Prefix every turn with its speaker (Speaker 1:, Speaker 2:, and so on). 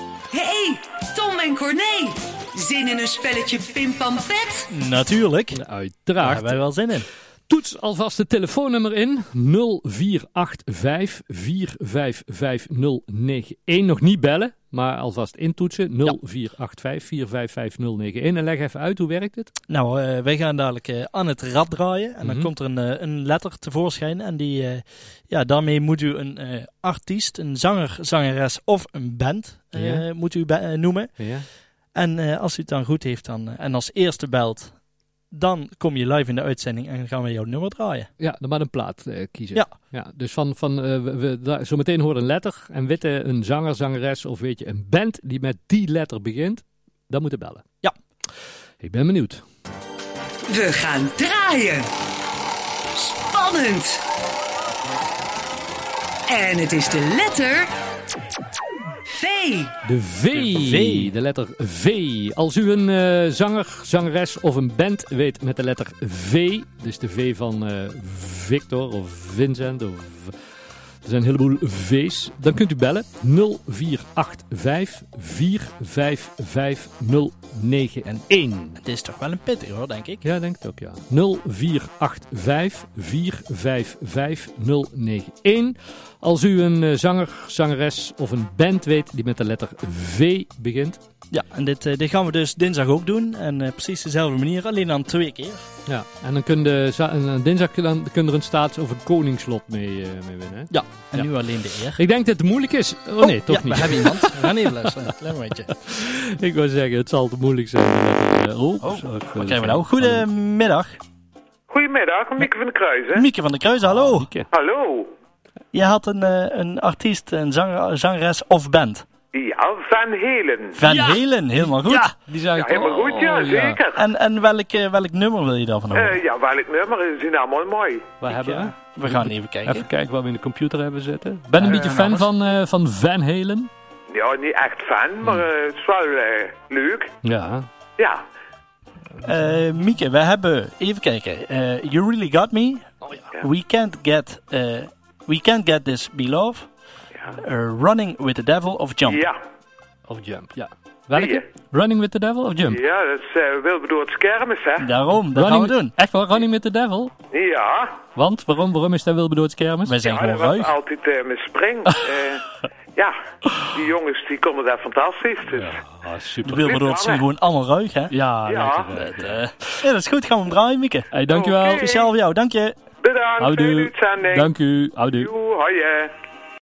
Speaker 1: Hé, hey, Tom en Corné. Zin in een spelletje Pimpampet?
Speaker 2: Natuurlijk. Daar
Speaker 3: Uiteraard.
Speaker 2: hebben wij wel zin in.
Speaker 3: Toets alvast het telefoonnummer in. 0485 455 091. Nog niet bellen, maar alvast intoetsen. 0485 455 091. En leg even uit, hoe werkt het?
Speaker 2: Nou, eh, wij gaan dadelijk eh, aan het rad draaien. En dan
Speaker 3: Mhm.
Speaker 2: komt er een, eh, een letter tevoorschijn. En die, eh, ja, daarmee moet u een eh, artiest, een zanger, zangeres of een band eh, moet u be- eh, noemen.
Speaker 3: Ja.
Speaker 2: En eh, als u het dan goed heeft dan, eh, en als eerste belt, dan kom je live in de uitzending en gaan we jouw nummer draaien.
Speaker 3: Ja, dan maar een plaat eh, kiezen.
Speaker 2: Ja.
Speaker 3: dus van, van eh, we, we, daar- zometeen horen een letter en witte een zanger, zangeres of weet je, een band die met die letter begint, dan moeten bellen.
Speaker 2: Ja.
Speaker 3: Ik ben benieuwd.
Speaker 1: We gaan draaien. Spannend. En het is de letter V.
Speaker 3: De V.
Speaker 2: De V.
Speaker 3: De letter V. Als u een eh, zanger, zangeres of een band weet met de letter V, dus de V van eh, Victor of Vincent of... Er zijn een heleboel V's. Dan kunt u bellen 0485 455 091.
Speaker 2: Het is toch wel een pittig hoor, denk ik.
Speaker 3: Ja, denk het ook, ja. 0485 455 091. Als u een eh, zanger, zangeres of een band weet die met de letter V begint.
Speaker 2: Ja, en dit, eh, dit gaan we dus dinsdag ook doen. En eh, precies dezelfde manier, alleen dan twee keer.
Speaker 3: Ja. En dan kun je, za- en, eh, dinsdag kun- dan kun je er een staats- of een koningslot mee, eh, mee winnen. hè?
Speaker 2: En
Speaker 3: Ja.
Speaker 2: nu alleen de eer.
Speaker 3: Ik denk dat het moeilijk is. Oh, nee, toch
Speaker 2: ja,
Speaker 3: niet.
Speaker 2: We hebben iemand. We gaan even luisteren. Klein momentje.
Speaker 3: Ik wil zeggen, het zal te moeilijk zijn. met, eh, oh,
Speaker 2: Oh,
Speaker 3: zo, ik wil
Speaker 2: Wat
Speaker 3: het
Speaker 2: krijgen we nou? Goedemiddag.
Speaker 4: Goedemiddag, Mieke van de Kruis, hè?
Speaker 2: Mieke van der Kruis,
Speaker 4: Ah,
Speaker 2: hallo.
Speaker 3: Mieke.
Speaker 4: Hallo.
Speaker 2: Je had een, eh, een artiest, een zanger, zangeres of band.
Speaker 4: Ja, Van Helen.
Speaker 2: Van Helen, helemaal goed.
Speaker 3: Die zei
Speaker 4: Ja,
Speaker 3: ik
Speaker 4: helemaal
Speaker 3: al.
Speaker 4: goed, ja,
Speaker 3: Oh,
Speaker 4: zeker.
Speaker 2: En, en welk, eh, welk nummer wil je daarvan horen?
Speaker 4: Eh, ja, welk nummer? Ze zijn allemaal mooi.
Speaker 3: We hebben
Speaker 2: Ja, we gaan even kijken.
Speaker 3: Even kijken wat we in de computer hebben zitten. Ben een beetje
Speaker 2: eh,
Speaker 3: fan
Speaker 2: namens-
Speaker 3: van, eh, van Van Halen.
Speaker 4: Ja, niet echt
Speaker 3: Hmm.
Speaker 4: fan, maar eh, het is wel eh, leuk.
Speaker 3: Ja.
Speaker 4: Ja.
Speaker 2: Eh, Mieke, we hebben, even kijken. Eh, you Really Got Me.
Speaker 4: Oh,
Speaker 2: We Can't Get, eh, we can't get This Beloved. Eh, running with the Devil of
Speaker 3: Oh.
Speaker 2: Jump.
Speaker 4: Ja.
Speaker 3: Of Jump, ja. Welke?
Speaker 4: Die, hè?
Speaker 3: Running with the Devil of Jump?
Speaker 4: Ja, dat is eh welbedoeld kermis, hè?
Speaker 2: Daarom, dat
Speaker 3: running,
Speaker 2: gaan we doen.
Speaker 3: Echt wel, Running with the Devil?
Speaker 4: Ja.
Speaker 3: Want, waarom, waarom is dat Wilbedoord kermis?
Speaker 2: Wij zijn
Speaker 4: Ja,
Speaker 2: gewoon
Speaker 4: dat was
Speaker 2: ruig.
Speaker 4: altijd eh, mijn spring. Eh, ja, die jongens die konden daar fantastisch. Dus.
Speaker 3: Ah, super.
Speaker 2: De Wilberdoorts zijn gewoon allemaal ruig, hè?
Speaker 3: Ja,
Speaker 4: Ja.
Speaker 3: lekker.
Speaker 2: Dat,
Speaker 3: eh.
Speaker 2: eh, ja, dat is goed. Gaan we hem draaien, Mieke.
Speaker 3: Hey, dankjewel.
Speaker 4: Oké.
Speaker 2: Speciaal voor jou, dank je.
Speaker 4: Bedankt, fijne
Speaker 3: Houdoe.
Speaker 4: uitzending.
Speaker 3: Dank u. Houdoe.
Speaker 4: Joe, hoi, eh.